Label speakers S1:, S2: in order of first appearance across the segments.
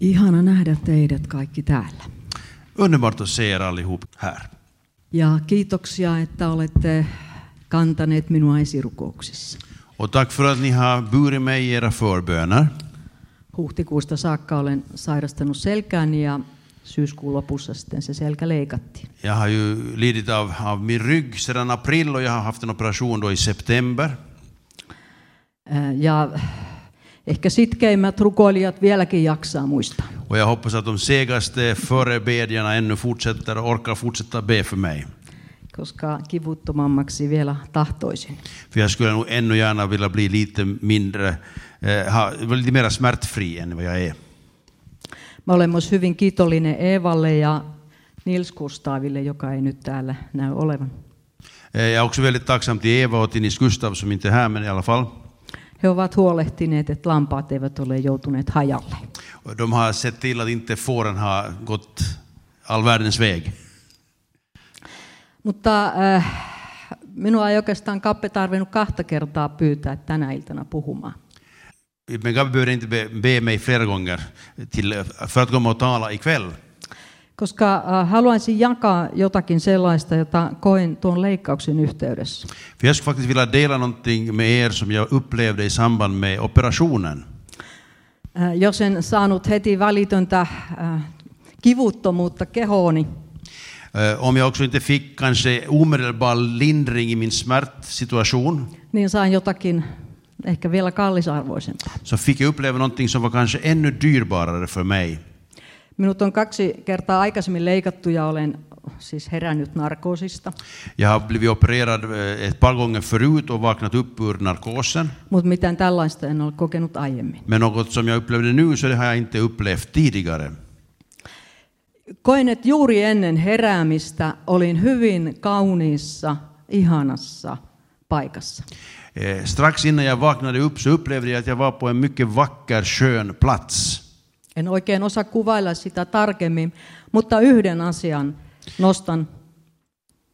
S1: Ihana nähdä teidät kaikki täällä.
S2: Underbart att se er allihop här.
S1: Ja kiitoksia, että olette kantaneet minua esirukouksissa.
S2: Och tack för att ni har burit mig i era förböner.
S1: Huhtikuusta saakka olen sairastanut selkääni ja syyskuun lopussa sitten se selkä leikattiin.
S2: Jag har ju lidit av, av min rygg sedan april och jag har haft en operation då i september.
S1: Äh, Ja ehkä sitkeimmät rukoilijat vieläkin jaksaa muistaa.
S2: Och jag hoppas att de segaste förebedjarna ännu fortsätter och orkar fortsätta be för mig.
S1: koska kivuttomammaksi vielä tahtoisin.
S2: För jag skulle nog ännu gärna vilja bli lite mindre, eh, ha, lite mer smärtfri än vad jag är.
S1: Mä olen myös hyvin kiitollinen Eevalle ja Nils Kustaville, joka ei nyt täällä näy olevan.
S2: Eh, jag är också väldigt tacksam till Eva och till Nils Gustav som inte är här, men i alla fall.
S1: He ovat huolehtineet, että lampaat eivät ole joutuneet hajalle.
S2: Och De har sett till att inte fåren har gått all världens väg.
S1: Mutta äh, minua ei oikeastaan Kappe tarvinnut kahta kertaa pyytää tänä iltana puhumaan.
S2: Men Gabby behövde inte be, be mig flera gånger till, för att komma och tala ikväll.
S1: Koska äh, haluaisin jakaa jotakin sellaista, jota koin tuon leikkauksen yhteydessä.
S2: För jag skulle faktiskt vilja dela någonting med er som jag upplevde i samband med operationen.
S1: Äh, jos en saanut heti välitöntä äh, kivuttomuutta kehooni,
S2: Eh, Om jag också inte fick kanske omedelbar lindring i min smärtsituation
S1: niin sain jotakin ehkä vielä kallisarvoisempaa.
S2: så fick jag uppleva någonting som var kanske ännu dyrbarare för mig.
S1: Minut on kaksi kertaa aikaisemmin leikattu ja olen siis herännyt narkoosista,
S2: Jag har blivit opererad eh, ett par gånger förut och vaknat upp ur narkosen.
S1: mutta mitään tällaista en ole kokenut aiemmin.
S2: Men något som jag upplevde nu så det har jag inte upplevt tidigare.
S1: Koin, että juuri ennen heräämistä olin hyvin kauniissa, ihanassa paikassa.
S2: Eh, strax innan jag vaknade upp så upplevde jag att jag var på en mycket vacker, skön plats.
S1: En oikein osaa kuvailla sitä tarkemmin, mutta yhden asian nostan.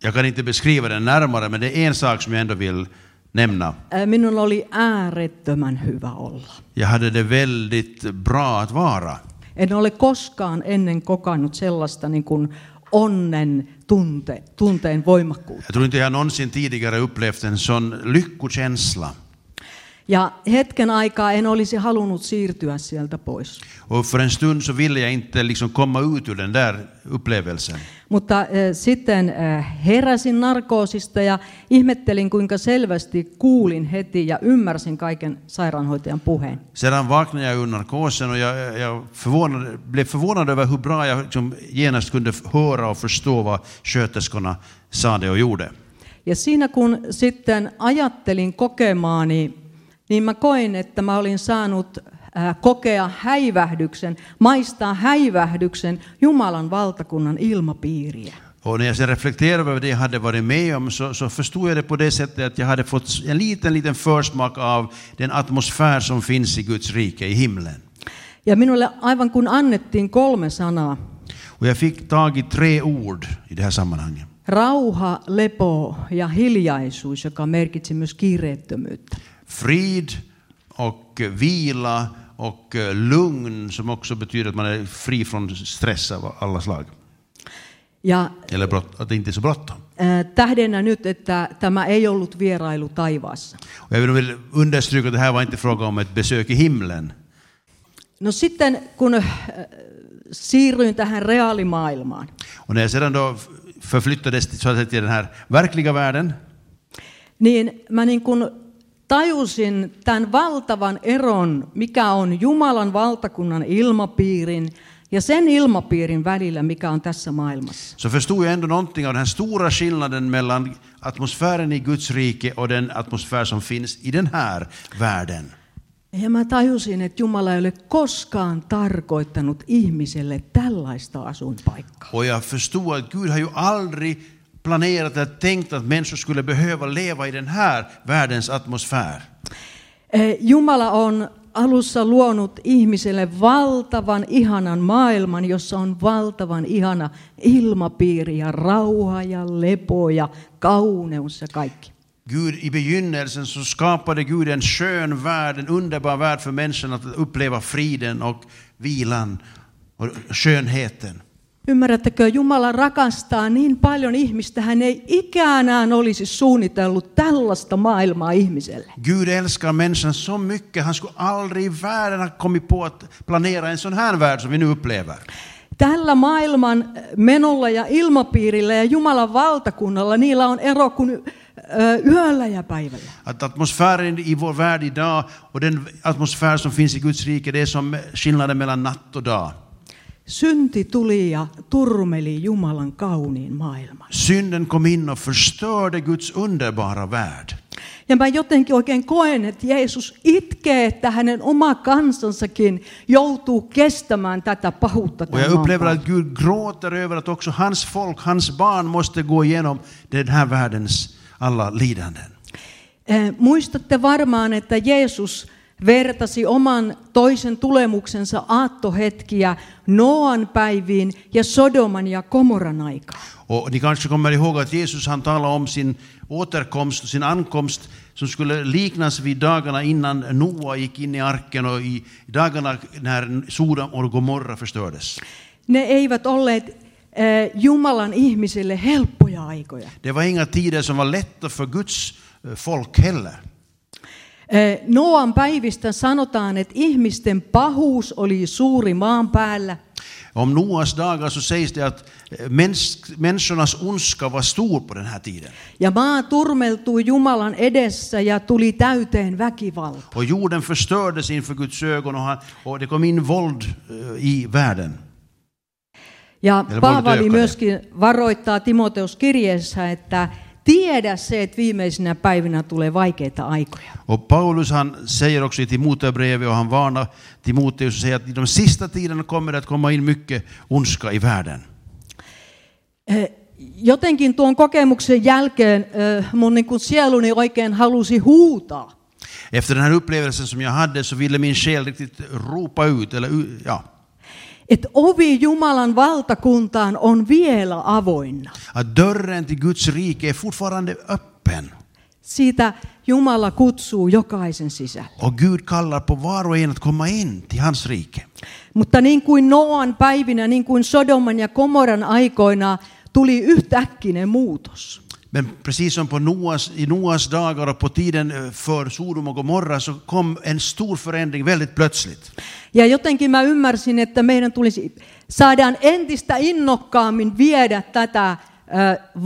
S2: Jag kan inte beskriva den närmare, men det är en sak som jag ändå vill nämna.
S1: Ää, Minun oli äärettömän hyvä olla.
S2: Jag hade det väldigt bra att vara.
S1: En ole koskaan ennen kokannut sellaista niin kuin onnen tunte, tunteen voimakkuutta.
S2: Jag tror inte jag någonsin tidigare upplevt en sån lyckokänsla.
S1: Ja hetken aikaa en olisi halunnut siirtyä sieltä pois.
S2: Och för en stund så ville jag inte liksom komma ut ur den där upplevelsen.
S1: Mutta äh, sitten äh, heräsin narkoosista ja ihmettelin, kuinka selvästi kuulin heti ja ymmärsin kaiken sairaanhoitajan puheen.
S2: Sedan vaknade jag ur narkosen och jag, jag förvånade, blev förvånad över hur bra jag liksom genast kunde höra och förstå vad sköterskorna sade och gjorde.
S1: Ja siinä kun sitten ajattelin kokemaani, niin mä koin, että mä olin saanut äh, kokea häivähdyksen, maistaa häivähdyksen Jumalan valtakunnan ilmapiiriä.
S2: Och när jag sen reflekterade över det jag hade varit med om så, så förstod jag det på det sättet att jag hade fått en liten, liten försmak av den atmosfär som finns i Guds rike, i himlen.
S1: Ja minulle aivan kun annettiin kolme sanaa,
S2: Och jag fick tag i tre ord i det här sammanhanget.
S1: rauha, lepo ja hiljaisuus, joka merkitsi myös kiireettömyyttä.
S2: Frid och vila och eh, lugn som också betyder att man är fri från stress av alla slag.
S1: Ja
S2: Eller brott, att det inte är så bråttom.
S1: äh, tähdennä nyt, että tämä ei ollut vierailu taivaassa.
S2: Och jag vill- vill understryka att det här var inte fråga om ett besök i himlen.
S1: No sitten kun äh, siirryin tähän reaalimaailmaan,
S2: Och när jag sedan då f- förflyttades till- så att säga, till den här verkliga världen
S1: niin mä niin kuin tajusin tämän valtavan eron, mikä on Jumalan valtakunnan ilmapiirin ja sen ilmapiirin välillä, mikä on tässä maailmassa.
S2: så förstod jag ändå någonting av den här stora skillnaden mellan atmosfären i Guds rike och den atmosfär som finns i den här världen.
S1: Ja mä tajusin, että Jumala ei ole koskaan tarkoittanut ihmiselle tällaista asuinpaikkaa.
S2: Och jag förstod att Gud har ju aldrig planerat eller tänkt att människor skulle behöva leva i den här världens atmosfär.
S1: Eh, Jumala on alussa luonut ihmiselle valtavan ihanan maailman, jossa on valtavan ihana ilmapiiri ja rauha ja lepo ja kauneus ja kaikki.
S2: Gud, I begynnelsen så skapade Gud en skön värld, en underbar värld för människan att uppleva friden och vilan och skönheten.
S1: Ymmärrättekö, Jumala rakastaa niin paljon ihmistä, hän ei ikänään olisi suunnitellut tällaista maailmaa ihmiselle.
S2: Gud älskar människan så mycket, han skulle aldrig i världen ha kommit på att planera en sån här värld som vi nu upplever.
S1: Tällä maailman eh, menolla ja ilmapiirillä ja Jumalan valtakunnalla niillä on ero kuin ö, yöllä ja päivällä.
S2: Att atmosfären i vår värld idag och den atmosfär som finns i Guds rike, det är som skillnaden mellan natt och dag.
S1: Synti tuli ja turmeli Jumalan kauniin maailman.
S2: Synden kom in och förstörde Guds underbara värld.
S1: Ja mä jotenkin oikein koen, että Jeesus itkee, että hänen oma kansansakin joutuu kestämään tätä pahuutta.
S2: Och jag
S1: tämän maan
S2: upplever
S1: päällä.
S2: att Gud gråter över att också hans folk, hans barn måste gå igenom den här världens alla lidanden.
S1: Eh, Muistatte varmaan, että Jeesus vertasi oman toisen tulemuksensa aattohetkiä Noan päiviin ja Sodoman ja Komoran aikaan.
S2: Och ni kanske kommer ihåg att Jesus han talar om sin återkomst och sin ankomst som skulle liknas vid dagarna innan Noa gick in i arken och i dagarna när Sodom och Gomorra förstördes.
S1: Ne eivät olleet eh, Jumalan ihmisille helppoja aikoja.
S2: Det var inga tider som var lätta för Guds eh, folk heller.
S1: Eh, Noan päivistä sanotaan, että ihmisten pahuus oli suuri maan päällä.
S2: Om Noas dagar så sägs det att eh, mäns- människornas ondska var stor på den här tiden.
S1: Ja maa turmeltui Jumalan edessä ja tuli täyteen väkivalta.
S2: Och jorden förstördes inför Guds ögon och, han, och det kom in våld eh, i världen.
S1: Ja
S2: Meillä voi olla
S1: Paavali
S2: työkaluja.
S1: myöskin varoittaa Timoteus kirjeessä, että tiedä se, että viimeisinä päivinä tulee vaikeita aikoja.
S2: Och Paulus han säger också i Timoteusbrevet och han varnar Timoteus och säger att i de sista tiderna kommer det att komma in mycket ondska i världen.
S1: Eh, Jotenkin tuon kokemuksen jälkeen eh, mun niin kuin sieluni oikein halusi huutaa.
S2: Efter den här upplevelsen som jag hade så ville min själ riktigt ropa ut, eller u- ja,
S1: Että ovi Jumalan valtakuntaan on vielä avoinna.
S2: att dörren till Guds rike är fortfarande öppen.
S1: Siitä Jumala kutsuu jokaisen sisälle.
S2: Och Gud kallar på var och en att komma in till hans rike.
S1: Mutta niin kuin Noan päivinä, niin kuin Sodoman ja Komoran aikoina, tuli yhtäkkinen muutos.
S2: Men precis som på Noas, i Noas dagar och på tiden eh, för Sodom och Gomorra så kom en stor förändring väldigt plötsligt.
S1: Ja jotenkin mä ymmärsin, että meidän tulisi saadaan entistä innokkaammin viedä tätä ö,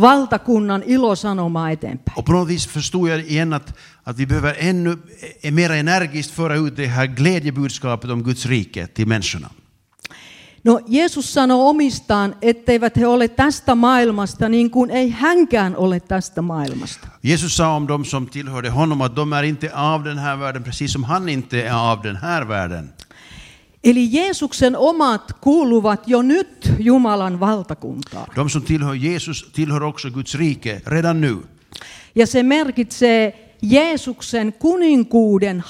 S1: valtakunnan ilosanomaa eteenpäin.
S2: Och på något vis förstod jag igen att, att vi behöver ännu eh, mer energiskt föra ut det här glädjebudskapet om Guds rike till människorna.
S1: No Jeesus sanoi omistaan, etteivät he ole tästä maailmasta niin kuin ei hänkään ole tästä maailmasta.
S2: Jesus sa om dem som tillhörde honom att de är inte av den här världen precis som han inte är av den här världen.
S1: Eli Jeesuksen omat kuuluvat jo nyt Jumalan valtakuntaan.
S2: De som tillhör Jesus tillhör också Guds rike redan nu.
S1: Ja se merkitsee Jeesuksen kuninkuuden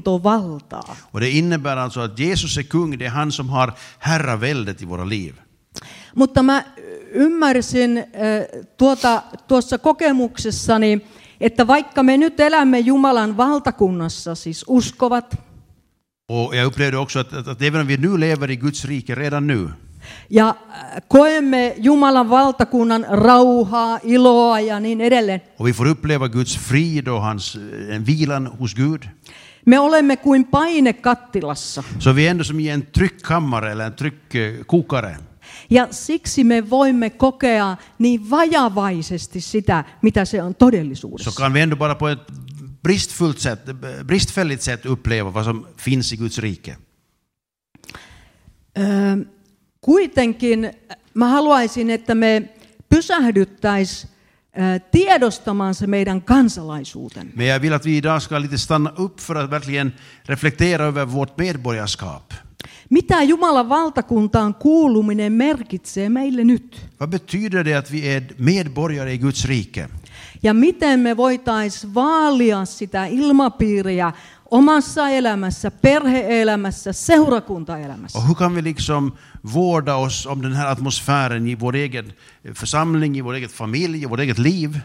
S1: hallintovaltaa.
S2: Och det innebär alltså att Jesus är kung, det är han som har herraväldet i våra liv.
S1: Mutta mä ymmärsin äh, tuota, tuossa kokemuksessani, että vaikka me nyt elämme Jumalan valtakunnassa, siis uskovat,
S2: Och jag upplevde också att, att, att även om vi nu lever i Guds rike redan nu,
S1: ja äh, koemme Jumalan valtakunnan rauhaa, iloa ja niin edelleen,
S2: och vi får uppleva Guds frid och hans eh, en vilan hos Gud,
S1: me olemme kuin painekattilassa.
S2: så vi är ändå som i en tryckkammare eller en tryckkokare.
S1: Ja siksi me voimme kokea niin vajavaisesti sitä, mitä se on
S2: Så
S1: todellisuudessa.
S2: kan vi ändå bara på ett bristfullt sätt, bristfälligt sätt uppleva vad som finns i Guds rike.
S1: Öö, kuitenkin äh, mä haluaisin, että me pysähdyttäisiin tiedostamaan se meidän kansalaisuutemme.
S2: Men jag vill att vi idag ska lite stanna upp för att verkligen reflektera över vårt medborgarskap.
S1: Mitä Jumalan valtakuntaan kuuluminen merkitsee meille nyt?
S2: Vad betyder det att vi är medborgare i Guds rike?
S1: Ja miten me voitaisiin vaalia sitä ilmapiiriä omassa elämässä, perheelämässä, seurakuntaelämässä.
S2: Och hur kan vi liksom vårda oss om den här atmosfären i vår egen församling, i vår egen familj, i vårt eget liv?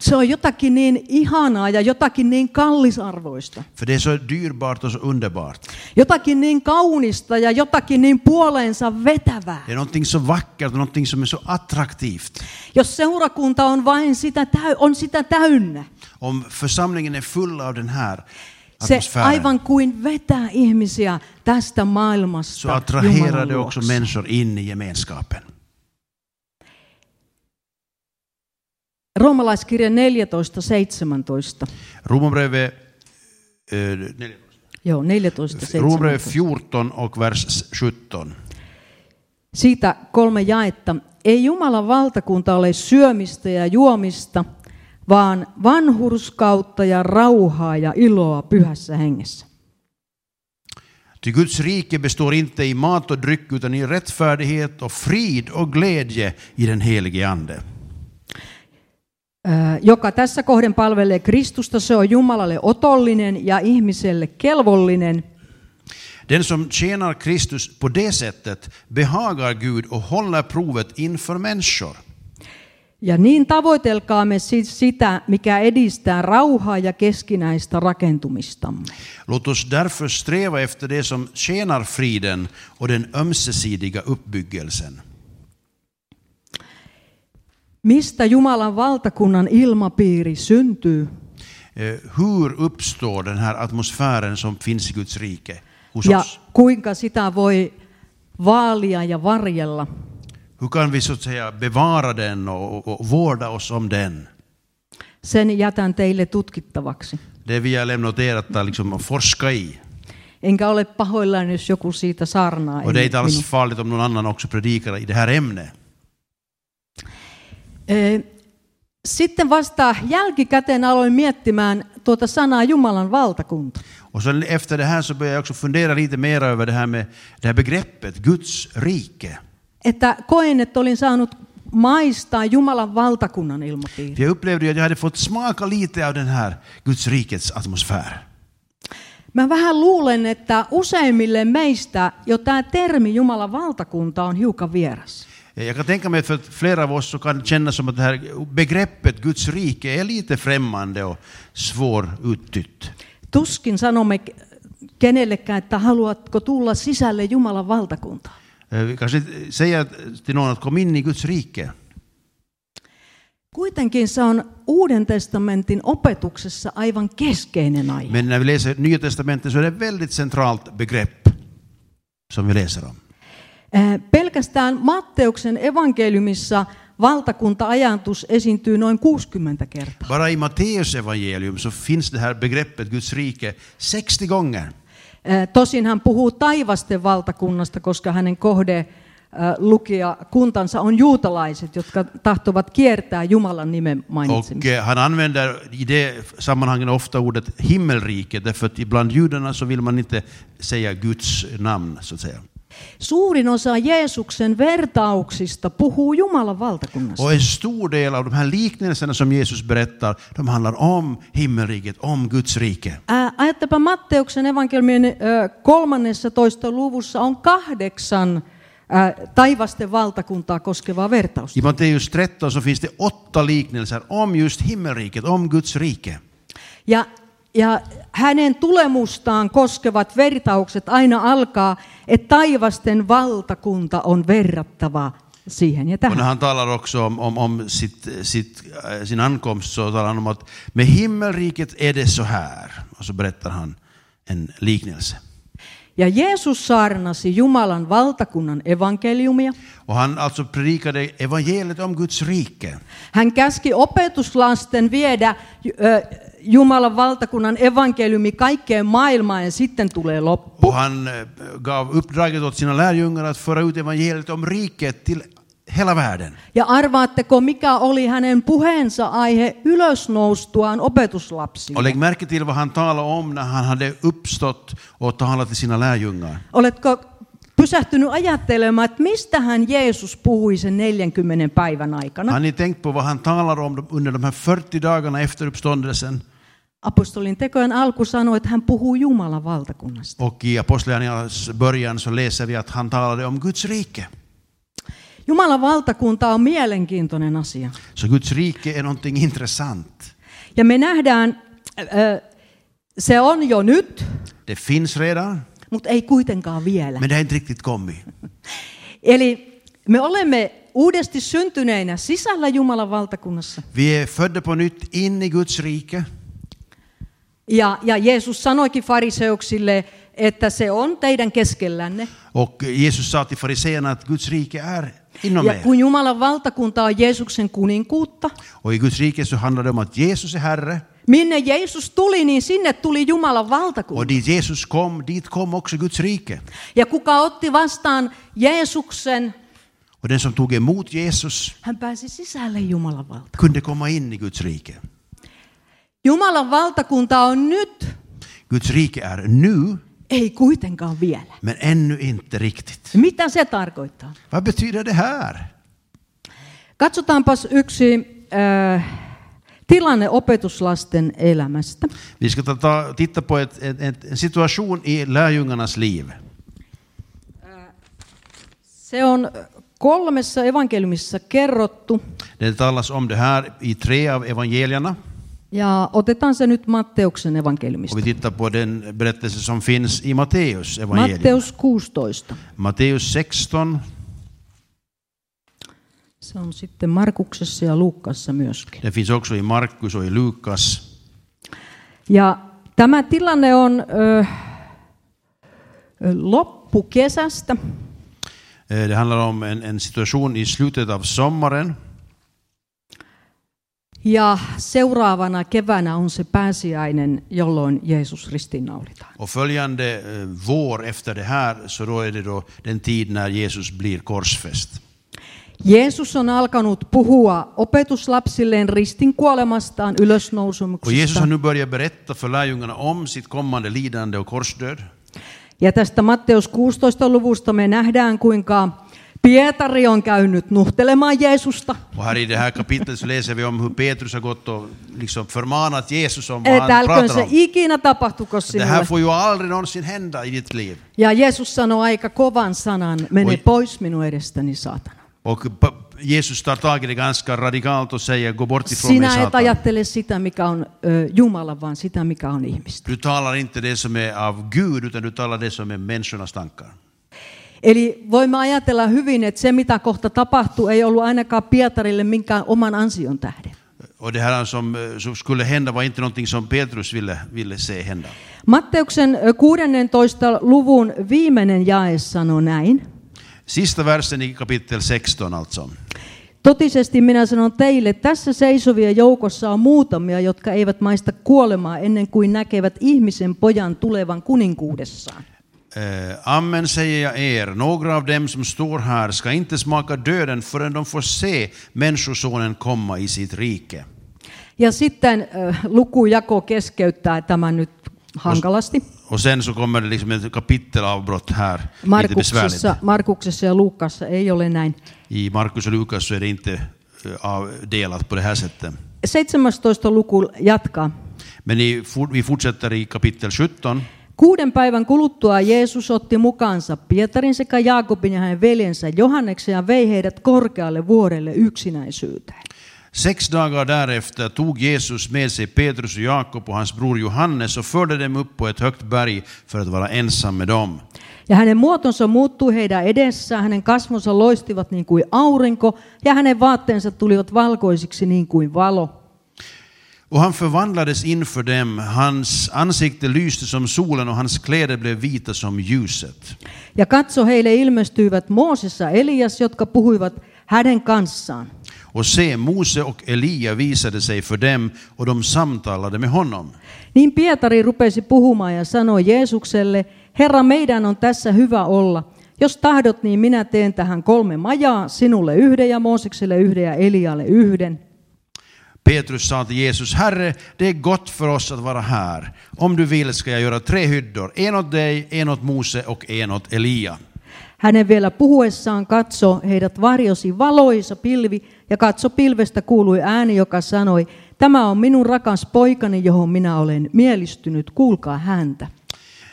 S1: Se on jotakin niin ihanaa ja jotakin niin kallisarvoista.
S2: För det är så dyrbart och så underbart.
S1: Jotakin niin kaunista ja jotakin niin puoleensa vetävää.
S2: Det är någonting så vackert och någonting som är så attraktivt.
S1: Jos seurakunta on vain sitä, täy- on sitä täynnä,
S2: Om församlingen är full av den här
S1: se
S2: atmosfären
S1: aivan kuin vetää ihmisiä tästä
S2: så
S1: maailmasta
S2: attraherar
S1: Jumalan
S2: det också
S1: luokse.
S2: människor in i gemenskapen.
S1: Roomalaiskirja 14, 17.
S2: Romarbrevet eh, nej,
S1: Joo, 14,
S2: Romarbrevet
S1: 17.
S2: 14 och vers 17.
S1: Siitä kolme jaetta. Ei Jumalan valtakunta ole syömistä ja juomista, vaan vanhurskautta ja rauhaa ja iloa pyhässä hengessä.
S2: Ty Guds rike består inte i mat och dryck utan i rättfärdighet och frid och glädje i den helige Ande.
S1: Ö, Joka tässä kohden palvelee Kristusta, se on Jumalalle otollinen ja ihmiselle kelvollinen.
S2: Den som tjänar Kristus på det sättet behagar Gud och håller provet inför människor.
S1: Ja niin tavoitelkaamme siis sitä, mikä edistää rauhaa ja keskinäistä rakentumistamme.
S2: Låt oss därför sträva efter det som tjänar friden och den ömsesidiga uppbyggelsen.
S1: Mistä Jumalan valtakunnan ilmapiiri syntyy?
S2: Eh, Hur uppstår den här atmosfären som finns i Guds rike hos
S1: Ja
S2: oss?
S1: kuinka sitä voi vaalia ja varjella?
S2: Hur kan vi så att säga bevara den och, och, och vårda oss om den?
S1: Sen jätän teille tutkittavaksi.
S2: Det vill jag lämna åt er att ta, liksom, och forska i.
S1: Enkä ole pahoillani, jos joku siitä saarnaa.
S2: Och det är inte
S1: ennen
S2: alls farligt om någon annan också predikar i det här ämnet.
S1: Ee, Sitten vasta jälkikäteen aloin miettimään tuota sanaa Jumalan valtakunta.
S2: Och sen efter det här så börjar jag också fundera lite mer över det här med det här begreppet, Guds rike.
S1: Että koen, että olin saanut maistaa Jumalan valtakunnan ilmapiiri.
S2: För jag upplevde ju att jag hade fått smaka lite av den här Guds rikets atmosfär.
S1: Mä vähän luulen, että useimmille meistä jo tämä termi Jumalan valtakunta on hiukan vieras.
S2: Eh, Jag kan tänka mig för att flera av oss så kan det kännas som att det här begreppet Guds rike är lite främmande och svåruttytt.
S1: Tuskin sanomme kenellekään, että haluatko tulla sisälle Jumalan valtakuntaan.
S2: Eh, Vi kanske inte säger till någon att kom in i Guds rike.
S1: Kuitenkin se on Uuden testamentin opetuksessa aivan keskeinen aihe.
S2: Men när vi läser Nya Testamentet så är det ett väldigt centralt begrepp som vi läser om.
S1: Eh, Pelkästään Matteuksen evankeliumissa valtakunta-ajatus esiintyy noin 60 kertaa.
S2: Bara i Matteus evangelium så finns det här begreppet Guds rike 60 gånger.
S1: Eh, Tosin hän puhuu taivasten valtakunnasta, koska hänen kohde eh, lukija kuntansa on juutalaiset, jotka tahtovat kiertää Jumalan nimen
S2: Och
S1: mainitsemista.
S2: eh, han använder i det sammanhanget ofta ordet himmelrike, därför att bland judarna så vill man inte säga Guds namn, så att säga.
S1: Suurin osa Jeesuksen vertauksista puhuu Jumalan valtakunnasta.
S2: Och en stor del av de här liknelserna som Jesus berättar, de handlar om himmelriket, om Guds rike.
S1: Ää, Ajattepa Matteuksen evankeliumin ö, 13 luvussa on kahdeksan ää, taivasten valtakuntaa koskevaa vertausta.
S2: I Matteus 13 så finns det åtta liknelser om just himmelriket, om Guds rike.
S1: Ja, ja hänen tulemustaan koskevat vertaukset aina alkaa, että taivasten valtakunta on verrattava siihen ja
S2: Och när
S1: tähän.
S2: han talar också om, om, om sitt, sitt, eh, sin ankomst så talar han om att med himmelriket är det så här. Och så berättar han en liknelse.
S1: Ja Jeesus saarnasi Jumalan valtakunnan evankeliumia.
S2: Och han alltså predikade evangeliet om Guds rike.
S1: Hän käski opetuslasten viedä ö, Jumalan valtakunnan evankeliumi kaikkeen maailmaan ja sitten tulee loppu.
S2: Och han eh, gav uppdraget åt sina lärjungar att föra ut evangeliet om riket till hela världen.
S1: Ja arvaatteko, mikä oli hänen puheensa aihe ylösnoustuaan opetuslapsille?
S2: Och lägg märke till vad han talade om när han hade uppstått och talat till sina lärjungar.
S1: Oletko pysähtynyt ajattelemaan, että mistä hän Jeesus puhui sen 40 päivän aikana?
S2: Har ni tänkt på vad han talar om de- under de här 40 dagarna efter uppståndelsen?
S1: Apostolin tekojen alku sanoi, että hän puhuu Jumalan valtakunnasta.
S2: Och i Apostlagärningarnas början så läser vi att han talade om Guds rike.
S1: Jumalan valtakunta on mielenkiintoinen asia.
S2: Så Guds rike är någonting intressant.
S1: Ja me nähdään, ö, se on jo nyt,
S2: Det finns redan,
S1: mutta ei kuitenkaan vielä.
S2: men det har inte riktigt kommit.
S1: Eli me olemme uudesti syntyneinä sisällä Jumalan valtakunnassa.
S2: Vi är födda på nytt in i Guds rike.
S1: Ja, ja Jeesus sanoikin fariseuksille, että se on teidän keskellänne.
S2: Och Jesus sa till fariséerna att Guds rike är inom
S1: Ja
S2: er.
S1: kun Jumalan valtakunta on Jeesuksen kuninkuutta,
S2: Och i Guds rike så handlar det om att Jesus är Herre.
S1: minne Jeesus tuli, niin sinne tuli Jumalan
S2: Och
S1: valtakunta.
S2: dit Jesus kom, dit kom också Guds rike.
S1: Ja kuka otti vastaan Jeesuksen,
S2: Och den som tog emot Jesus
S1: hän pääsi sisälle Jumalan valtakuntaan.
S2: kunde komma in i Guds rike.
S1: Jumalan valtakunta on nyt,
S2: Guds rike är nu,
S1: ei kuitenkaan vielä.
S2: men ännu inte riktigt.
S1: Mitä se tarkoittaa?
S2: Vad betyder det här?
S1: Katsotaanpas yksi äh, tilanne opetuslasten elämästä.
S2: Vi ska ta- ta, titta på ett, ett, ett, en situation i lärjungarnas liv.
S1: Se on kolmessa evankeliumissa kerrottu
S2: Det talas om det här i tre av evangelierna.
S1: ja otetaan se nyt Matteuksen evankeliumista.
S2: Och vi tittar på den berättelse som finns i Matteus evangelium.
S1: Matteus 16.
S2: Matteus 16
S1: Se on sitten Markuksessa ja Luukassa myöskin.
S2: Det finns också i Markus och i Lukas.
S1: Ja tämä tilanne on äh, ö, loppukesästä.
S2: Eh, Det handlar om en, en situation i slutet av sommaren.
S1: Ja seuraavana keväänä on se pääsiäinen, jolloin Jeesus ristiinnaulitaan.
S2: Och följande eh, vår efter det här så då är det då den tid när Jesus blir korsfäst.
S1: Jeesus on alkanut puhua opetuslapsilleen ristin kuolemastaan,
S2: Och Jesus har
S1: ylösnousumuksesta.
S2: nu börjat berätta för lärjungarna om sitt kommande lidande och korsdöd.
S1: Ja tästä Matteus 16 luvusta me nähdään, kuinka Pietari on käynyt nuhtelemaan Jeesusta.
S2: Och här i det här kapitlet så läser vi om hur Petrus har gått och liksom förmanat Jesus om vad
S1: Että
S2: han
S1: älköön
S2: pratar
S1: se
S2: om.
S1: ikinä tapahtuko
S2: Det här
S1: sinulle.
S2: får ju aldrig någonsin hända i ditt liv.
S1: Ja Jeesus sanoi aika kovan sanan, mene
S2: Voi-
S1: pois minun edestäni saatana.
S2: Och pa- Jesus tar tag i det ganska radikalt och säger gå bort ifrån mig
S1: Sinä et
S2: Satan.
S1: ajattele sitä, mikä on ö, Jumala, vaan sitä, mikä on ihmistä.
S2: Du talar inte det som är av Gud, utan du talar det som är människornas tankar.
S1: Eli voimme ajatella hyvin, että se mitä kohta tapahtuu ei ollut ainakaan Pietarille minkään oman ansion tähden.
S2: Och det här som, eh, som skulle hända var inte någonting som Petrus ville, ville se hända.
S1: Matteuksen ö, 16. luvun viimeinen jae sanoo näin.
S2: Sista versen i kapitel 16 alltså.
S1: Totisesti minä sanon teille, tässä seisovien joukossa on muutamia, jotka eivät maista kuolemaa ennen kuin näkevät ihmisen pojan tulevan kuninkuudessaan.
S2: Eh, amen säger jag er, några av dem som står här ska inte smaka döden förrän de får se Människosonen komma i sitt rike.
S1: Ja sitten ö, lukujako keskeyttää tämän nyt hankalasti.
S2: Och sen så kommer det liksom ett kapitelavbrott här, lite besvärligt.
S1: Markuksessa, Markuksessa ja Luukassa ei ole näin.
S2: I Markus och Lukas så är det inte eh, av- delat på det här sättet.
S1: 17. luku jatkaa.
S2: Men i, for- vi fortsätter i kapitel 17.
S1: Kuuden päivän kuluttua Jeesus otti mukaansa Pietarin sekä Jaakobin ja hänen veljensä Johanneksen ja vei heidät korkealle vuorelle yksinäisyyteen.
S2: Sex dagar därefter tog Jesus med sig Petrus och Jakob och hans bror Johannes och förde dem upp på ett högt berg för att vara ensam med dem.
S1: Ja hänen muotonsa muuttui heidän edessään, hänen kasvonsa loistivat niin kuin aurinko, ja hänen vaatteensa tulivat valkoisiksi niin kuin valo.
S2: Och han förvandlades inför dem, hans ansikte lyste som solen och hans kläder blev vita som ljuset.
S1: Ja katso, heille ilmestyivät Mooses ja Elias, jotka puhuivat hänen kanssaan.
S2: Och se, Mose och Elia visade sig för dem och de samtalade med honom.
S1: Niin Pietari rupesi puhumaan ja sanoi Jeesukselle, Herra, meidän on tässä hyvä olla. Jos tahdot, niin minä teen tähän kolme majaa, sinulle yhden ja Moosekselle yhden ja Elialle yhden.
S2: Petrus sa till Jesus, Herre, det är gott för oss att vara här. Om du vill ska jag göra tre hyddor, en åt dig, en åt Mose och en åt Elia.
S1: Hänen vielä puhuessaan katso, heidät varjosi valoisa pilvi, ja katso pilvestä kuului ääni, joka sanoi, Tämä on minun rakas poikani, johon minä olen mielistynyt, kuulkaa häntä.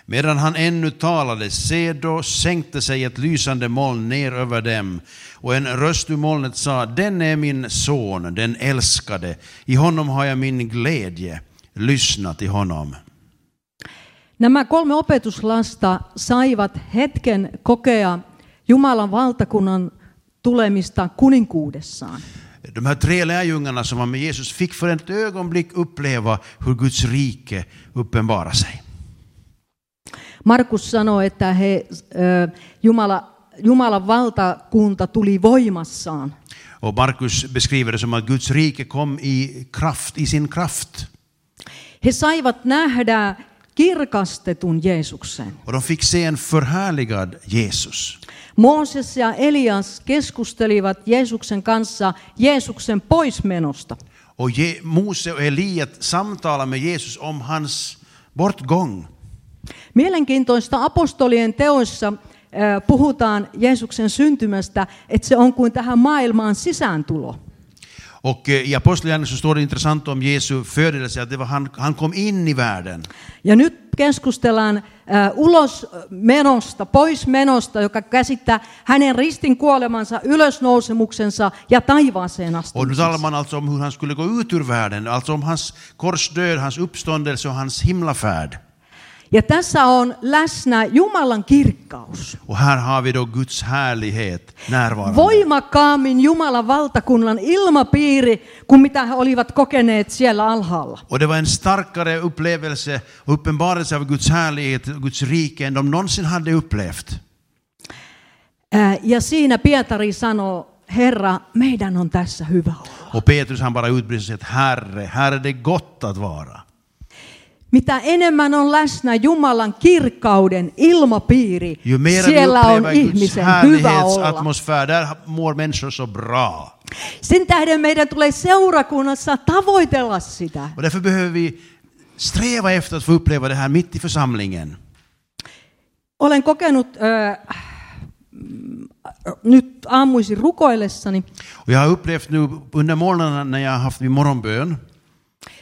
S2: Medan han ännu talade, se då sänkte sig ett lysande moln ner över dem, och en röst ur molnet sa, den är min son, den älskade, i honom har jag min glädje, lyssna till honom.
S1: Nämä kolme opetuslasta saivat hetken kokea Jumalan valtakunnan tulemista kuninkuudessaan.
S2: De här tre lärjungarna som var med Jesus fick för ett ögonblick uppleva hur Guds rike uppenbarar sig.
S1: Markus sanoi, että he, ö, Jumala, Jumalan valtakunta tuli voimassaan.
S2: Och Markus beskriver det som att Guds rike kom i kraft, i sin kraft.
S1: He saivat nähdä kirkastetun Jeesuksen.
S2: Och de fick se en förhärligad Jesus.
S1: Mooses ja Elias keskustelivat Jeesuksen kanssa Jeesuksen poismenosta.
S2: Och Je- Mose och Eliat samtalar med Jesus om hans bortgång.
S1: Mielenkiintoista apostolien teoissa ö, puhutaan Jeesuksen syntymästä, että se on kuin tähän maailmaan sisääntulo.
S2: Och eh, i Apostlagärningarna så står det intressant om Jesu födelse, att det var han, han kom in i världen.
S1: Ja nyt keskustellaan ö, ulosmenosta, poismenosta, joka käsittää hänen ristin kuolemansa, ylösnousemuksensa ja taivaaseen
S2: Och nu talar
S1: astumisensa.
S2: man alltså om hur han skulle gå ut ur världen, alltså om hans korsdöd, hans uppståndelse och hans himlafärd.
S1: Ja tässä on läsnä Jumalan kirkkaus.
S2: Och här har vi då Guds härlighet närvarande.
S1: Voimakkaammin Jumalan valtakunnan ilmapiiri kuin mitä he olivat kokeneet siellä alhaalla.
S2: Och det var en starkare upplevelse och uppenbarelse av Guds härlighet och Guds rike än de någonsin hade upplevt.
S1: Ää, Ja siinä Pietari sanoo, Herra, meidän on tässä hyvä olla.
S2: Och Petrus han bara utbrister sig att Herre, Herre det är gott att vara.
S1: Mitä enemmän on läsnä Jumalan kirkkauden ilmapiiri,
S2: Ju mer vi
S1: siellä on
S2: upplever Guds
S1: ihmisen hyvä olla.
S2: härlighetsatmosfär, där mår människor så bra.
S1: Sen tähden meidän tulee seurakunnassa tavoitella sitä.
S2: Och därför behöver vi sträva efter att få uppleva det här mitt i församlingen.
S1: Olen kokenut äh, nyt aamuisin rukoillessani,
S2: Och jag har upplevt nu under morgonen när jag har haft min morgonbön,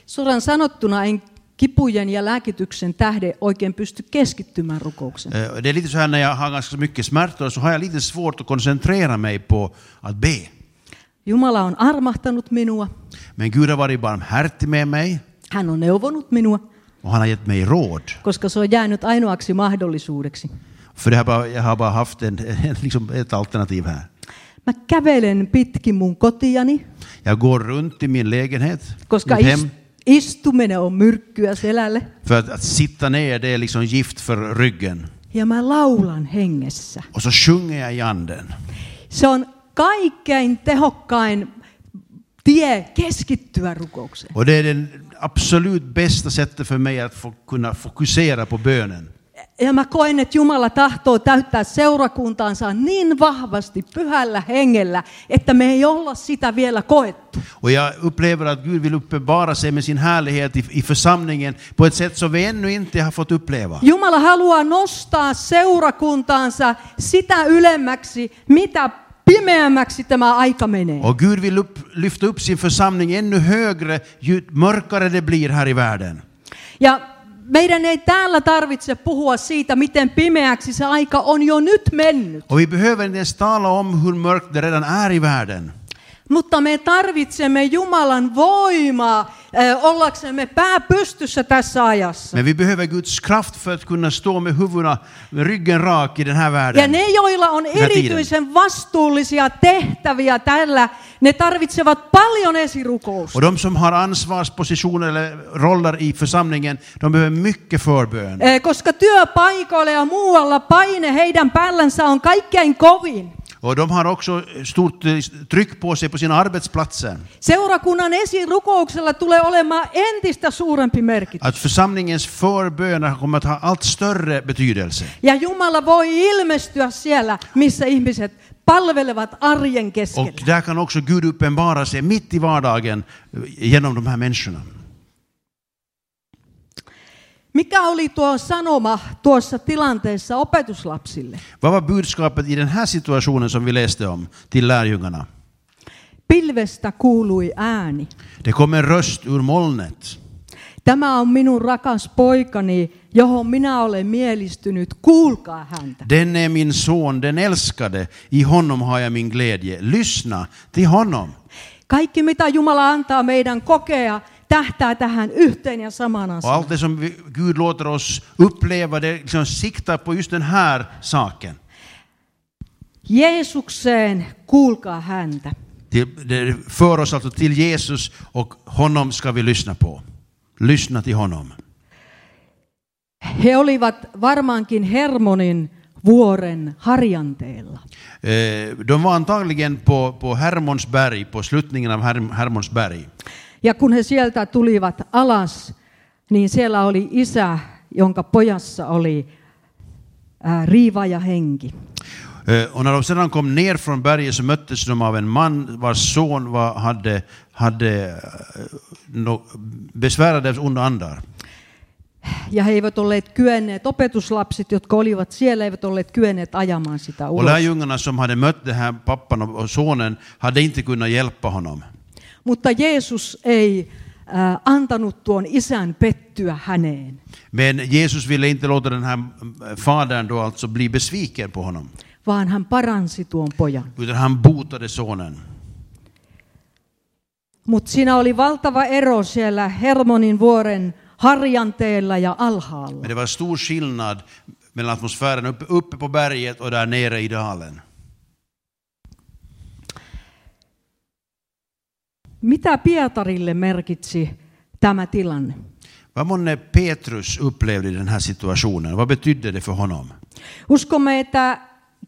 S1: suoraan sanottuna en kipujen ja lääkityksen tähden oikein pysty keskittymään rukoukseen.
S2: eh, det är lite så här när jag har ganska mycket smärtor så har jag lite svårt att koncentrera mig på att be.
S1: Jumala on armahtanut minua,
S2: Men Gud har varit barmhärtig med mig
S1: hän on neuvonut minua,
S2: och han har gett mig råd.
S1: koska se on jäänyt ainoaksi mahdollisuudeksi.
S2: För det här bara, jag har bara haft en, en, liksom ett alternativ här.
S1: Mä kävelen pitkin mun kotiani,
S2: Jag går runt i min lägenhet,
S1: koska
S2: mitt hem,
S1: is- istuminen on myrkkyä selälle.
S2: för att, att sitta ner det är liksom gift för ryggen.
S1: Ja mä laulan hengessä.
S2: Och så sjunger jag i anden.
S1: Se on kaikkein tehokkain tie keskittyä rukoukseen.
S2: Och det är det absolut bästa sättet för mig att få, kunna fokusera på bönen.
S1: Ja mä koen, että Jumala tahtoo täyttää seurakuntaansa niin vahvasti pyhällä hengellä, että me ei olla sitä vielä koettu.
S2: Och jag upplever att Gud vill uppenbara sig med sin härlighet i, i församlingen på ett sätt som vi ännu inte har fått uppleva.
S1: Jumala haluaa nostaa seurakuntaansa sitä ylemmäksi, mitä pimeämmäksi tämä aika menee.
S2: Och Gud vill upp, lyfta upp sin församling ännu högre ju mörkare det blir här i världen.
S1: Ja meidän ei täällä tarvitse puhua siitä, miten pimeäksi se aika on jo nyt mennyt.
S2: Och vi behöver inte ens tala om hur mörkt det redan är i världen.
S1: Mutta me tarvitsemme Jumalan voimaa ö, ollaksemme pää pystyssä tässä ajassa.
S2: Men vi behöver Guds kraft för att kunna stå med huvudena, med ryggen rak i den här
S1: Ja
S2: världen.
S1: ne, joilla on erityisen vastuullisia tehtäviä tällä, ne tarvitsevat paljon esirukousta.
S2: Och de som har ansvarspositioner eller roller i församlingen, de behöver mycket förbön.
S1: Ö, Eh, Koska työpaikoilla ja muualla paine heidän päällänsä on kaikkein kovin.
S2: Och de har också stort eh, tryck på sig på sina arbetsplatser.
S1: Seurakunnan esirukouksella tulee olemaan entistä suurempi merkitys.
S2: Att församlingens förböner kommer att ha allt större betydelse.
S1: Ja Jumala voi ilmestyä siellä, missä ihmiset palvelevat arjen
S2: Och
S1: keskellä.
S2: där kan också Gud uppenbara sig mitt i vardagen eh, genom de här människorna.
S1: Mikä oli tuo sanoma tuossa tilanteessa opetuslapsille?
S2: Vad var budskapet i den här situationen som vi läste om till lärjungarna?
S1: Pilvestä kuului ääni.
S2: Det kom en röst ur molnet.
S1: Tämä on minun rakas poikani, johon minä olen mielistynyt. Kuulkaa häntä.
S2: Den är min son, den älskade. I honom har jag min glädje. Lyssna till honom.
S1: Kaikki mitä Jumala antaa meidän kokea, tähtää tähän yhteen ja samaan
S2: Och
S1: asiaan.
S2: allt det som vi, Gud låter oss uppleva, det liksom siktar på just den här saken.
S1: Jeesukseen, kuulkaa häntä.
S2: Till, det för oss alltså till Jesus och honom ska vi lyssna på. Lyssna till honom.
S1: He olivat varmaankin Hermonin vuoren harjanteella.
S2: Eh, De var antagligen på, på Hermonsberg, på sluttningen av Herm, Hermonsberg.
S1: Ja kun he sieltä tulivat alas, niin siellä oli isä, jonka pojassa oli ää, riiva ja henki.
S2: Eh, Och när de sedan kom ner från berget så möttes de av en man vars son var, hade, hade eh, no, besvärades onda andar.
S1: Ja he eivät olleet kyenneet, opetuslapset, jotka olivat siellä, eivät olleet kyenneet ajamaan sitä
S2: Och
S1: ulos.
S2: lärjungarna som hade mött den här pappan och och sonen hade inte kunnat hjälpa honom.
S1: Mutta Jeesus ei ää, antanut tuon isän pettyä häneen,
S2: Men Jesus ville inte låta den här fadern då alltså bli besviken på honom.
S1: vaan hän paransi tuon pojan.
S2: Utan han botade sonen.
S1: Mutta siinä oli valtava ero siellä Hermonin vuoren harjanteella ja alhaalla.
S2: Men det var stor skillnad mellan atmosfären uppe, uppe på berget och där nere i dalen.
S1: Mitä Pietarille merkitsi tämä tilanne?
S2: Vad månne Petrus upplevde i den här situationen? Vad betydde det för honom?
S1: Uskomme, että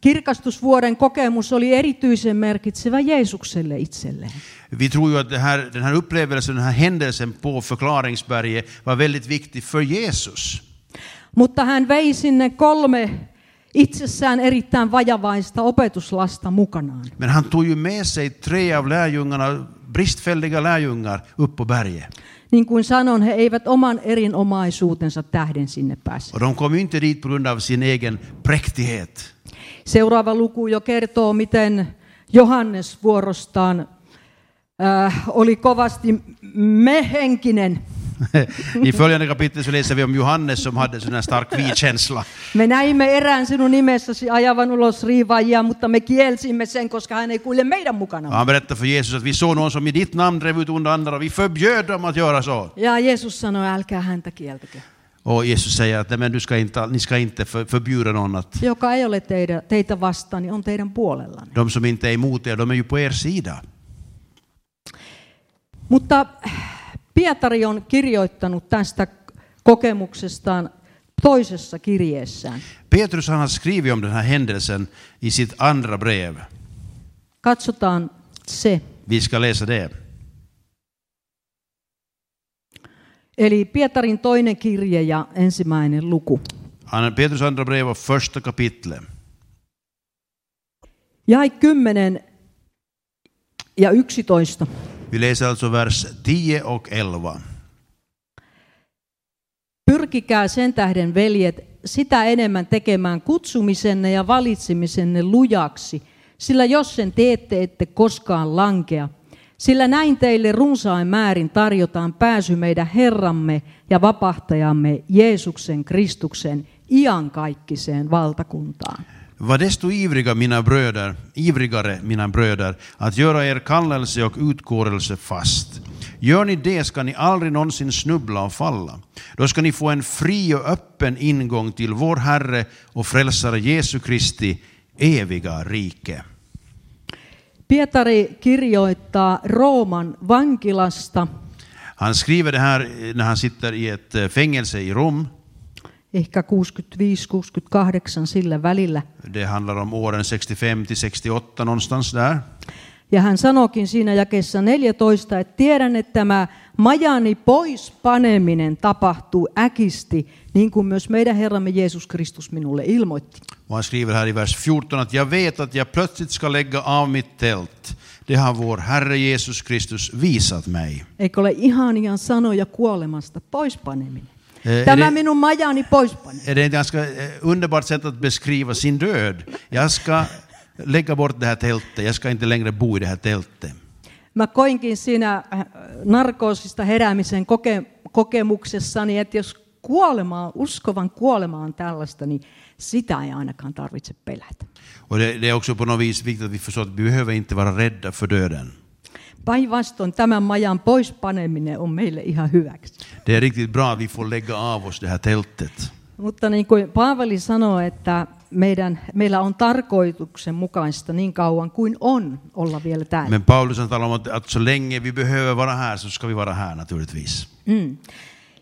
S1: kirkastusvuoden kokemus oli erityisen merkitsevä Jeesukselle itselleen.
S2: Vi tror ju att det här, den här upplevelsen, den här händelsen på förklaringsberget var väldigt viktig för Jesus.
S1: Mutta hän vei sinne kolme itsessään erittäin vajavaista opetuslasta mukanaan.
S2: Men han tog ju med sig tre av lärjungarna, bristfälliga lärjungar, upp på berget.
S1: Niin kuin sanon, he eivät oman erinomaisuutensa tähden sinne pääse.
S2: Och de kom ju inte dit på grund av sin egen präktighet.
S1: Seuraava luku jo kertoo, miten Johannes vuorostaan äh, oli kovasti mehenkinen.
S2: I följande kapitel så läser vi om Johannes som hade sån här stark vi-känsla.
S1: Me näimme erään sinun nimessäsi ajavan ulos riivaajia, mutta me kielsimme sen, koska hän ei kulje meidän mukana.
S2: Och han berättade för Jesus att vi såg någon som i ditt namn drev ut onda andar och vi förbjöd dem att göra så.
S1: Ja Jeesus sanoi, älkää häntä kieltäkö.
S2: Och Jesus säger att "Nej, men du ska inte, ni ska inte för, förbjuda någon att
S1: Joka ei ole teidän, teitä vastaan, niin on teidän puolellanne.
S2: de som inte är emot er, de är ju på er sida.
S1: Mutta Pietari on kirjoittanut tästä kokemuksestaan toisessa kirjeessään.
S2: Petrus han har skrivit om den här händelsen i sitt andra brev.
S1: Katsotaan se.
S2: Vi ska läsa det.
S1: Eli Pietarin toinen kirje ja ensimmäinen luku.
S2: Han- Petrus andra brev och första kapitlet.
S1: Jae 10 ja 11.
S2: Vi läser alltså vers 10 och 11.
S1: Pyrkikää sen tähden, veljet, sitä enemmän tekemään kutsumisenne ja valitsemisenne lujaksi, sillä jos sen teette, ette koskaan lankea. Sillä näin teille runsain määrin tarjotaan pääsy meidän Herramme ja vapahtajamme Jeesuksen Kristuksen iankaikkiseen valtakuntaan.
S2: Var desto ivriga mina bröder, ivrigare mina bröder att göra er kallelse och utkårelse fast. Gör ni det ska ni aldrig någonsin snubbla och falla. Då ska ni få en fri och öppen ingång till vår Herre och Frälsare Jesu Kristi eviga rike.
S1: Pietari kirjoittaa Rooman vankilasta,
S2: Han skriver det här eh, när han sitter i ett eh, fängelse i Rom.
S1: ehkä 65-68 sillä välillä,
S2: Det handlar om åren 65 till 68 någonstans där.
S1: Ja hän sanokin siinä jakessa 14, että tiedän, että tämä majani pois paneminen tapahtuu äkisti, niin kuin myös meidän Herramme Jeesus Kristus minulle ilmoitti.
S2: Och han skriver här i vers 14 att jag vet att jag plötsligt ska lägga av mitt tält. Det har vår Herre Jesus Kristus visat mig.
S1: Eikö ole ihania sanoja kuolemasta pois paneminen?
S2: Eh,
S1: Tämä
S2: eli-
S1: minun majani pois paneminen.
S2: Är det ett ganska eh, underbart sätt att beskriva sin död? Jag ska lägga bort det här tältet, jag ska inte längre bo i det här tältet.
S1: Mä koinkin siinä äh, narkoosista heräämisen koke- kokemuksessani, että jos kuolemaa, uskovan kuolemaa on tällaista, niin sitä ei ainakaan tarvitse pelätä.
S2: Och det, det är också på något vis viktigt att vi förstår att vi behöver inte vara rädda för döden.
S1: Päinvastoin tämän majan pois paneminen on meille ihan hyväksi.
S2: Det är riktigt bra att vi får lägga av oss det här tältet.
S1: Mutta niin kuin Paavali sanoi, että meidän, meillä on tarkoituksen mukaista niin kauan kuin on olla vielä täällä.
S2: Men Paulus han talar om att, att så länge vi behöver vara här så ska vi vara här naturligtvis.
S1: Mm.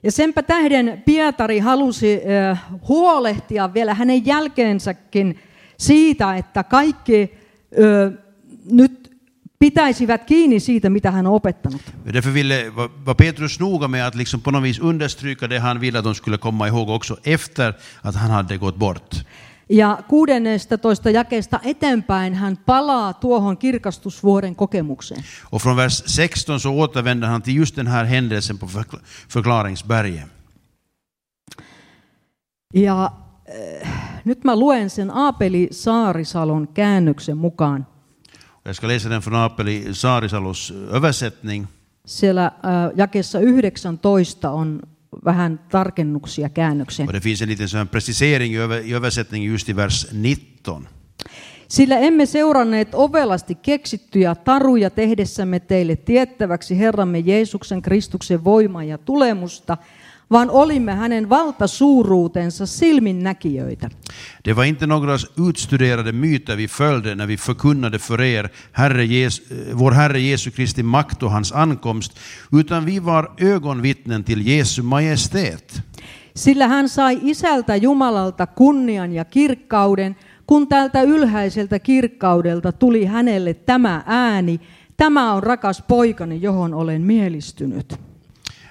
S1: Ja senpä tähden Pietari halusi ö, huolehtia vielä hänen jälkeensäkin siitä, että kaikki ö, nyt pitäisivät kiinni siitä, mitä hän on opettanut.
S2: Därför ville, var- var Petrus noga med att liksom på något vis understryka det han ville att de skulle komma ihåg också efter att han hade gått bort.
S1: Ja 16 jakeesta eteenpäin hän palaa tuohon kirkastusvuoden kokemukseen.
S2: Och från vers 16 så återvänder han till just den här händelsen på förkla- förklaringsberget.
S1: Ja äh, nyt mä luen sen Aapeli Saarisalon käännöksen mukaan.
S2: Jag ska läsa den från Apeli Saarisalos översättning.
S1: Siellä äh, jakessa 19 on vähän tarkennuksia käännökseen.
S2: Och det finns en liten sån här precisering i, över, i översättningen just i vers 19.
S1: Sillä emme seuranneet ovelasti keksittyjä taruja tehdessämme teille tiettäväksi Herramme Jeesuksen Kristuksen voimaa ja tulemusta, vaan olimme hänen valtasuuruutensa silminnäkijöitä.
S2: Det var inte några utstuderade myter vi följde när vi förkunnade för er Herre Jes, eh, vår Herre Jesu Kristi makt och hans ankomst, utan vi var ögonvittnen till Jesu majestät.
S1: Sillä hän sai isältä Jumalalta kunnian ja kirkkauden, kun tältä ylhäiseltä kirkkaudelta tuli hänelle tämä ääni, tämä on rakas poikani, johon olen mielistynyt.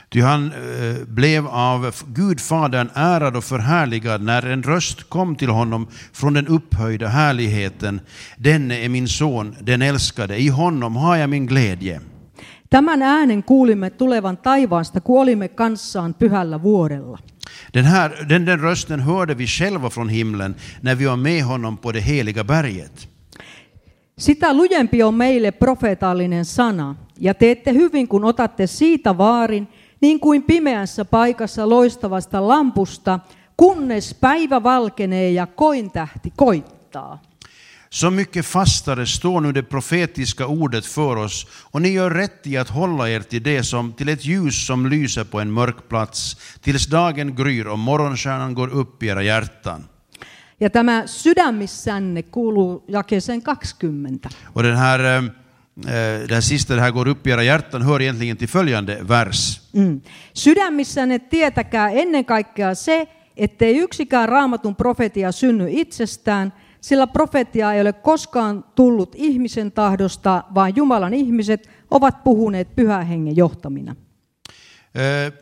S2: Ty han eh, blev av f- Gud Fadern ärad och förhärligad när en röst kom till honom från den upphöjda härligheten. Denne är min son, den älskade, i honom har jag min glädje.
S1: Tämän äänen kuulimme tulevan taivaasta, kun olimme kanssaan pyhällä vuorella.
S2: Den, här, den, den rösten hörde vi själva från himlen när vi var med honom på det heliga berget.
S1: Sitä lujempi on meille profeetallinen sana, ja teette hyvin, kun otatte siitä vaarin, niin kuin pimeässä paikassa loistavasta lampusta, kunnes päivä valkenee ja koin tähti koittaa.
S2: Så mycket fastare står nu det profetiska ordet för oss och ni gör rätt i att hålla er till det som till ett ljus som lyser på en mörk plats tills dagen gryr och morgonstjärnan går upp i era hjärtan.
S1: Ja tämä sydämissänne kuuluu jakeeseen 20.
S2: Och den här, eh, eh, det här sista, det här går upp i era hjärtan, hör egentligen till följande vers.
S1: Mm. Sydämissänne tietäkää ennen kaikkea se, ettei yksikään raamatun profetia synny itsestään, sillä profetia ei ole koskaan tullut ihmisen tahdosta, vaan Jumalan ihmiset ovat puhuneet pyhän hengen johtamina.
S2: Eh,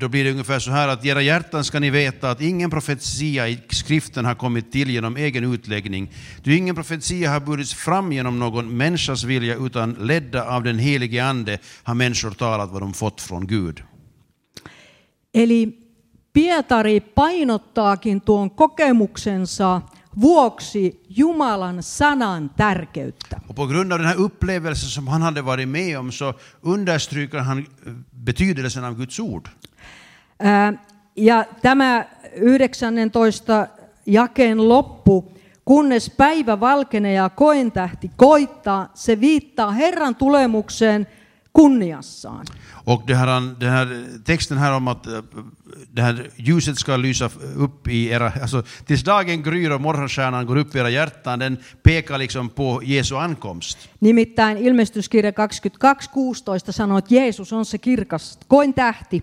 S2: Då blir det ungefär så här att i era hjärtan ska ni veta att ingen profetia i skriften har kommit till genom egen utläggning. Du ingen profetia har burits fram genom någon människas vilja utan ledda av den helige ande har människor talat vad de fått från Gud.
S1: Eli Pietari painottaakin tuon kokemuksensa vuoksi Jumalan sanan tärkeyttä.
S2: Och på grund av den här upplevelsen som han hade varit med om så understryker han eh, betydelsen av Guds ord.
S1: Ää, Ja tämä 19 jakeen loppu, kunnes päivä valkenee ja koen tähti koittaa, se viittaa Herran tulemukseen kunniassaan.
S2: Och det här, den här texten här om att eh, det här ljuset ska lysa upp i era, alltså tills dagen gryr och morgonstjärnan går upp i era hjärtan, den pekar liksom på Jesu ankomst.
S1: Nimittäin ilmestyskirja 22.16 sanoo, että Jeesus on se kirkas koen tähti.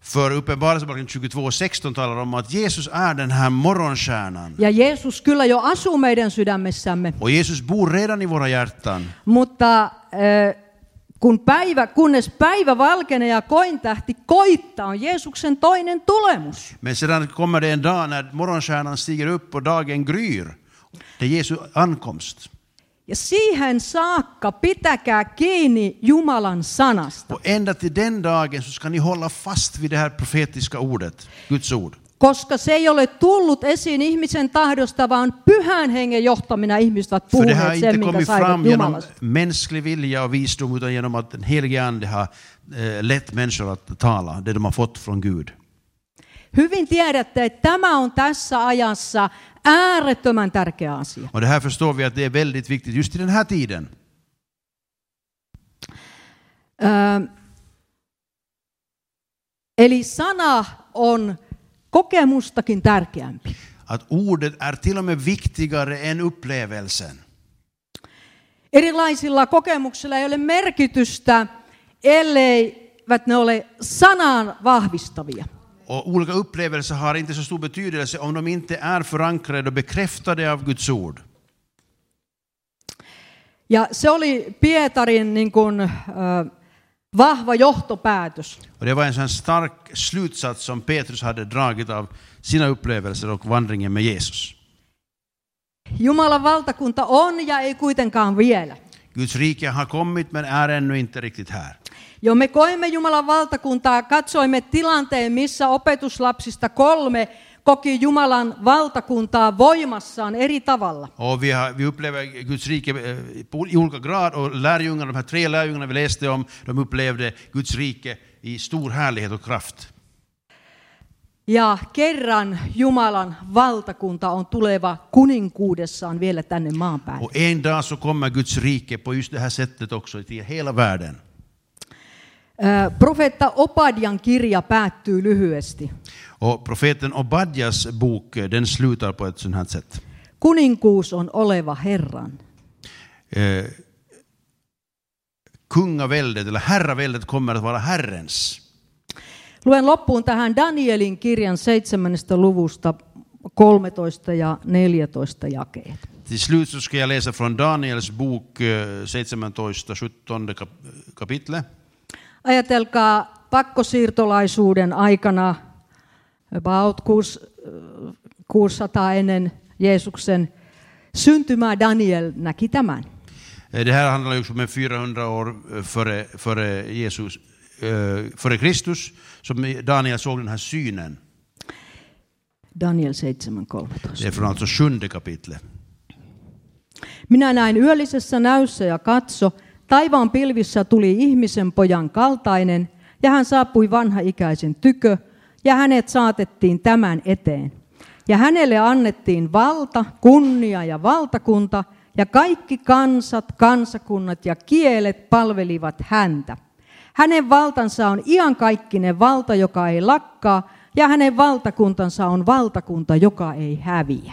S2: För Uppenbarelseboken 22.16 talar om att Jesus är den här morgonstjärnan.
S1: Ja Jeesus kyllä jo asuu meidän sydämessämme,
S2: Och Jesus bor redan i våra hjärtan.
S1: mutta äh, kun päivä, kunnes päivä valkenee ja koin tähti koittaa, on Jeesuksen toinen tulemus.
S2: Men sedan kommer det en dag när morgonstjärnan stiger upp och dagen gryr. Det är Jesu ankomst.
S1: Ja siihen saakka pitäkää kiinni Jumalan sanasta.
S2: Och ända till den dagen så ska ni hålla fast vid det här profetiska ordet, Guds ord.
S1: Koska se ei ole tullut esiin ihmisen tahdosta, vaan pyhän hengen johtamina ihmiset ovat
S2: För det har
S1: puhuneet
S2: inte
S1: sen, minkä
S2: kommit fram
S1: saivat
S2: genom
S1: Jumalasta.
S2: mänsklig vilja och visdom utan genom att den helige Ande har eh, lett människor att tala det de har fått från Gud.
S1: Hyvin tiedätte, että tämä on tässä ajassa äärettömän tärkeä asia.
S2: Och det här förstår vi att det är väldigt viktigt just i den här tiden.
S1: Ö, eli sana on kokemustakin tärkeämpi.
S2: Att ordet är till och med viktigare än upplevelsen.
S1: Erilaisilla kokemuksilla ei ole merkitystä, elleivät ne ole sanaan vahvistavia.
S2: Och olika upplevelser har inte så stor betydelse om de inte är förankrade och bekräftade av Guds ord.
S1: Ja se oli Pietarin niin kuin, ö, vahva johtopäätös.
S2: Och det var en sån stark slutsats som Petrus hade dragit av sina upplevelser och vandringen med Jesus.
S1: Jumalan valtakunta on ja ei kuitenkaan vielä.
S2: Guds rike har kommit men är ännu inte riktigt här.
S1: Jo me koimme Jumalan valtakuntaa, katsoimme tilanteen, missä opetuslapsista kolme koki Jumalan valtakuntaa voimassaan eri tavalla.
S2: Och vi, har, vi upplever Guds rike eh, på, i olika grad och lärjungarna, de här tre lärjungarna vi läste om, de upplevde Guds rike i stor härlighet och kraft.
S1: Ja kerran Jumalan valtakunta on tuleva kuninkuudessaan vielä tänne maan päälle.
S2: Och en dag så kommer Guds rike på just det här sättet också till hela världen.
S1: Ö, Profeetta Opadian kirja päättyy lyhyesti.
S2: Och profeten Obadjas bok, eh, den slutar på ett sånt här sätt.
S1: Kuninkuus on oleva Herran.
S2: Eh, kungaväldet, eller herraväldet, kommer att vara Herrens.
S1: Luen loppuun tähän Danielin kirjan 7. luvusta 13 ja 14 jakeet.
S2: Till slut så ska jag läsa från Daniels bok, eh, 17, 17 kap- kapitlet.
S1: Ajatelkaa pakkosiirtolaisuuden aikana, about kuus- äh, 600 ennen Jeesuksen syntymää Daniel näki tämän.
S2: Eh, Det här handlar ju också om 400 år eh, före, före, Jesus, eh, före Kristus, som Daniel såg den här synen.
S1: Daniel 7.13.
S2: Det är från alltså sjunde kapitlet.
S1: Minä näin yöllisessä näyssä ja katso, taivaan pilvissä tuli ihmisen pojan kaltainen, ja hän saapui vanhaikäisen tykö, ja hänet saatettiin tämän eteen. Ja hänelle annettiin valta, kunnia ja valtakunta, ja kaikki kansat, kansakunnat ja kielet palvelivat häntä. Hänen valtansa on iankaikkinen valta, joka ei lakkaa, ja hänen valtakuntansa on valtakunta, joka ei häviä.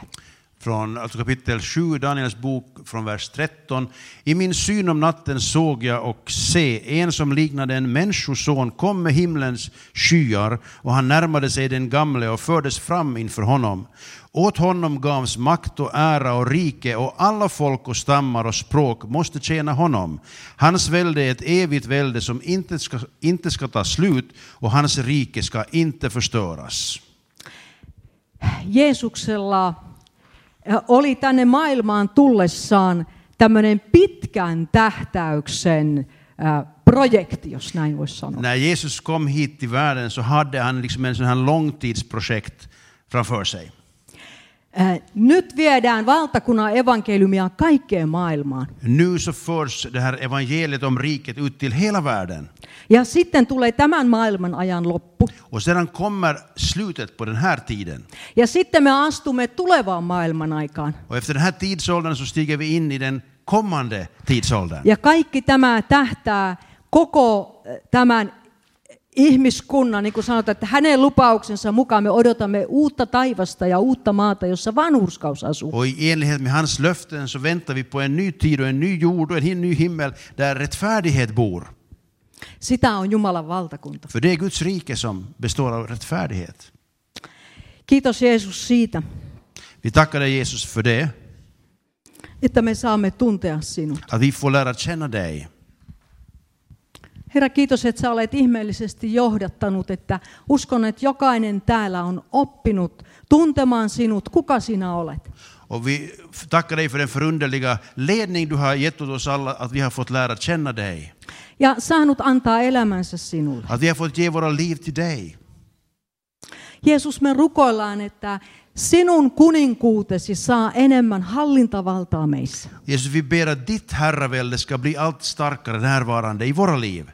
S2: Från alltså kapitel 7, Daniels bok, från vers 13. I min syn om natten såg jag och se, en som liknade en människoson kom med himlens skyar, och han närmade sig den gamle och fördes fram inför honom. Åt honom gavs makt och ära och rike, och alla folk och stammar och språk måste tjäna honom. Hans välde är ett evigt välde som inte ska, inte ska ta slut, och hans rike ska inte förstöras.
S1: Jeesuksella oli tänne maailmaan tullessaan tämmöinen pitkän tähtäyksen äh, projekti, jos näin voisi sanoa.
S2: När Jesus kom hit till världen så hade han liksom en sån här långtidsprojekt framför sig.
S1: Äh, Nyt viedään valtakunnan evankeliumia kaikkeen maailmaan.
S2: Nu så förs det här evangeliet om riket ut till hela världen.
S1: Ja sitten tulee tämän maailman ajan loppu.
S2: Och sedan kommer slutet på den här tiden.
S1: Ja sitten me astumme tulevaan maailman aikaan.
S2: Och efter den här tidsåldern så stiger vi in i den kommande tidsåldern.
S1: Ja kaikki tämä tähtää koko äh, tämän ihmiskunnan, niin kuin sanotaan, että hänen lupauksensa mukaan me odotamme uutta taivasta ja uutta maata, jossa vanhurskaus asuu.
S2: Och i enlighet med hans löften så väntar vi på en ny tid och en ny jord och en ny himmel där rättfärdighet bor.
S1: Sitä on Jumalan valtakunta.
S2: För det är Guds rike som består av rättfärdighet.
S1: Kiitos Jeesus siitä,
S2: Vi tackar dig Jesus för det,
S1: että me saamme tuntea sinut.
S2: att vi får lära känna dig.
S1: Herra, kiitos, että sä olet ihmeellisesti johdattanut, että uskon, että jokainen täällä on oppinut tuntemaan sinut, kuka sinä olet.
S2: Och vi tackar dig för den förunderliga ledning du har gett åt oss alla, att vi har fått lära känna dig.
S1: Ja saanut antaa elämänsä sinulle.
S2: Att vi har fått ge våra liv till dig.
S1: Jeesus, me rukoillaan, että sinun kuninkuutesi saa enemmän hallintavaltaa meissä.
S2: Jesus, vi ber att ditt herravälde ska bli allt starkare närvarande i våra liv.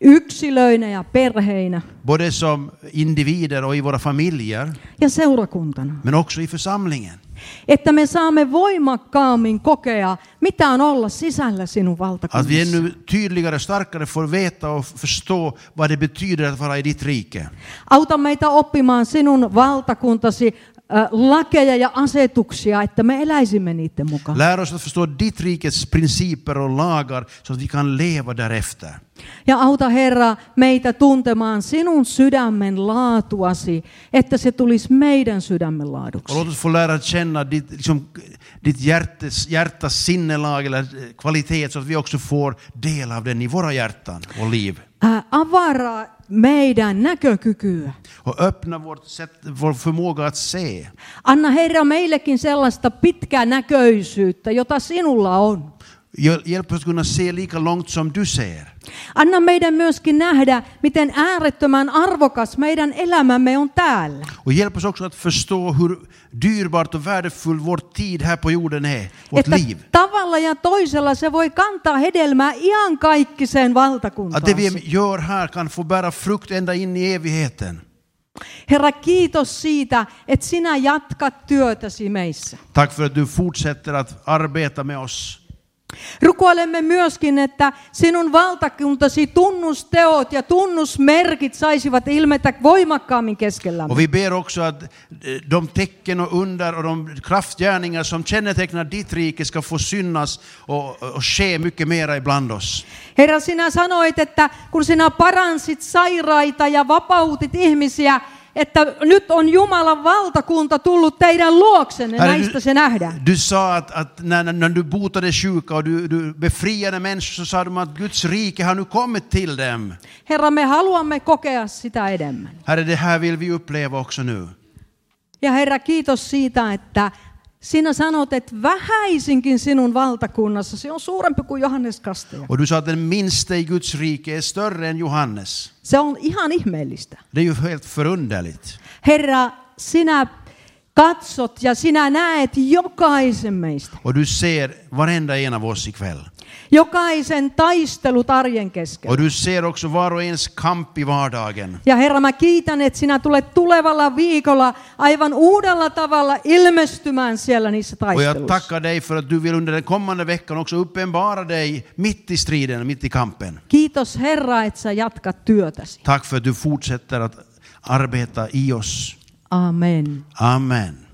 S1: Yksilöinä ja perheinä
S2: Både som individer och i våra familjer,
S1: ja seurakuntana.
S2: men också i församlingen.
S1: Että me saamme voimakkaammin kokea, mitä on olla sisällä sinun
S2: Att vi
S1: valtakunnassa.
S2: ännu tydligare och starkare får veta och förstå vad det betyder att vara i ditt rike.
S1: Auta meitä oppimaan sinun valtakuntasi äh, lakeja ja asetuksia, että me eläisimme niiden mukaan.
S2: Lär oss att förstå ditt rikets principer och lagar så att vi kan leva därefter.
S1: Ja auta Herra meitä tuntemaan sinun sydämen laatuasi, että se tulisi meidän sydämen
S2: Och
S1: laaduksi.
S2: låt oss få lära känna ditt, liksom, ditt hjärtes, hjärtas sinnelag eller eh, kvalitet så att vi också får del av den i våra hjärtan och liv.
S1: Ää, avaraa meidän näkökykyä.
S2: Och öppna vårt sätt, vår förmåga att se.
S1: Anna Herra meillekin sellaista pitkänäköisyyttä, jota sinulla on.
S2: Hjäl- Hjälp oss att kunna se lika långt som du ser.
S1: Anna meidän myöskin nähdä, miten äärettömän arvokas meidän elämämme on täällä.
S2: Och hjälp oss också att förstå hur dyrbart och värdefull vår tid här på jorden är, vårt
S1: Että
S2: liv.
S1: tavalla ja toisella se voi kantaa hedelmää iankaikkiseen valtakuntaan.
S2: Att det vi gör här kan få bära frukt ända in i evigheten.
S1: Herra, kiitos siitä, että sinä jatkat työtäsi meissä.
S2: Tack för att du fortsätter att arbeta med oss.
S1: Rukoilemme myöskin, että sinun valtakuntasi tunnusteot ja tunnusmerkit saisivat ilmetä voimakkaammin keskellämme.
S2: Och vi ber också att eh, de tecken och under och de kraftgärningar som kännetecknar ditt rike ska få synas och, och ske mycket mera ibland oss.
S1: Herra, sinä sanoit, että kun sinä paransit sairaita ja vapautit ihmisiä, että nyt on Jumalan valtakunta tullut teidän luoksenne,
S2: Herre,
S1: näistä se nähdään.
S2: du sa att, att när, när- när du botade sjuka och du, du befriade människor så sa de att Guds rike har nu kommit till dem.
S1: Herra, me haluamme kokea sitä enemmän.
S2: Herre, det här vill vi uppleva också nu.
S1: Ja Herra, kiitos siitä, että sinä sanot, että vähäisinkin sinun valtakunnassa, se on suurempi kuin Johannes Kastaja.
S2: Och du sa att den minste i Guds rike är större än Johannes.
S1: Se on ihan ihmeellistä.
S2: Det är ju helt förunderligt.
S1: Herra, sinä katsot ja sinä näet jokaisen meistä.
S2: Och du ser varenda en av oss ikväll.
S1: Jokaisen taistelut arjen keskellä.
S2: Och du ser också var och ens kamp i vardagen.
S1: Ja Herra, mä kiitän, että sinä tulet tulevalla viikolla aivan uudella tavalla ilmestymään siellä niissä
S2: Och jag
S1: taisteluissa.
S2: tackar dig för att du vill under den kommande veckan också uppenbara dig mitt i striden, mitt i kampen.
S1: Kiitos Herra, että sä jatkat työtäsi.
S2: Tack för att du fortsätter att arbeta i oss.
S1: Amen.
S2: Amen.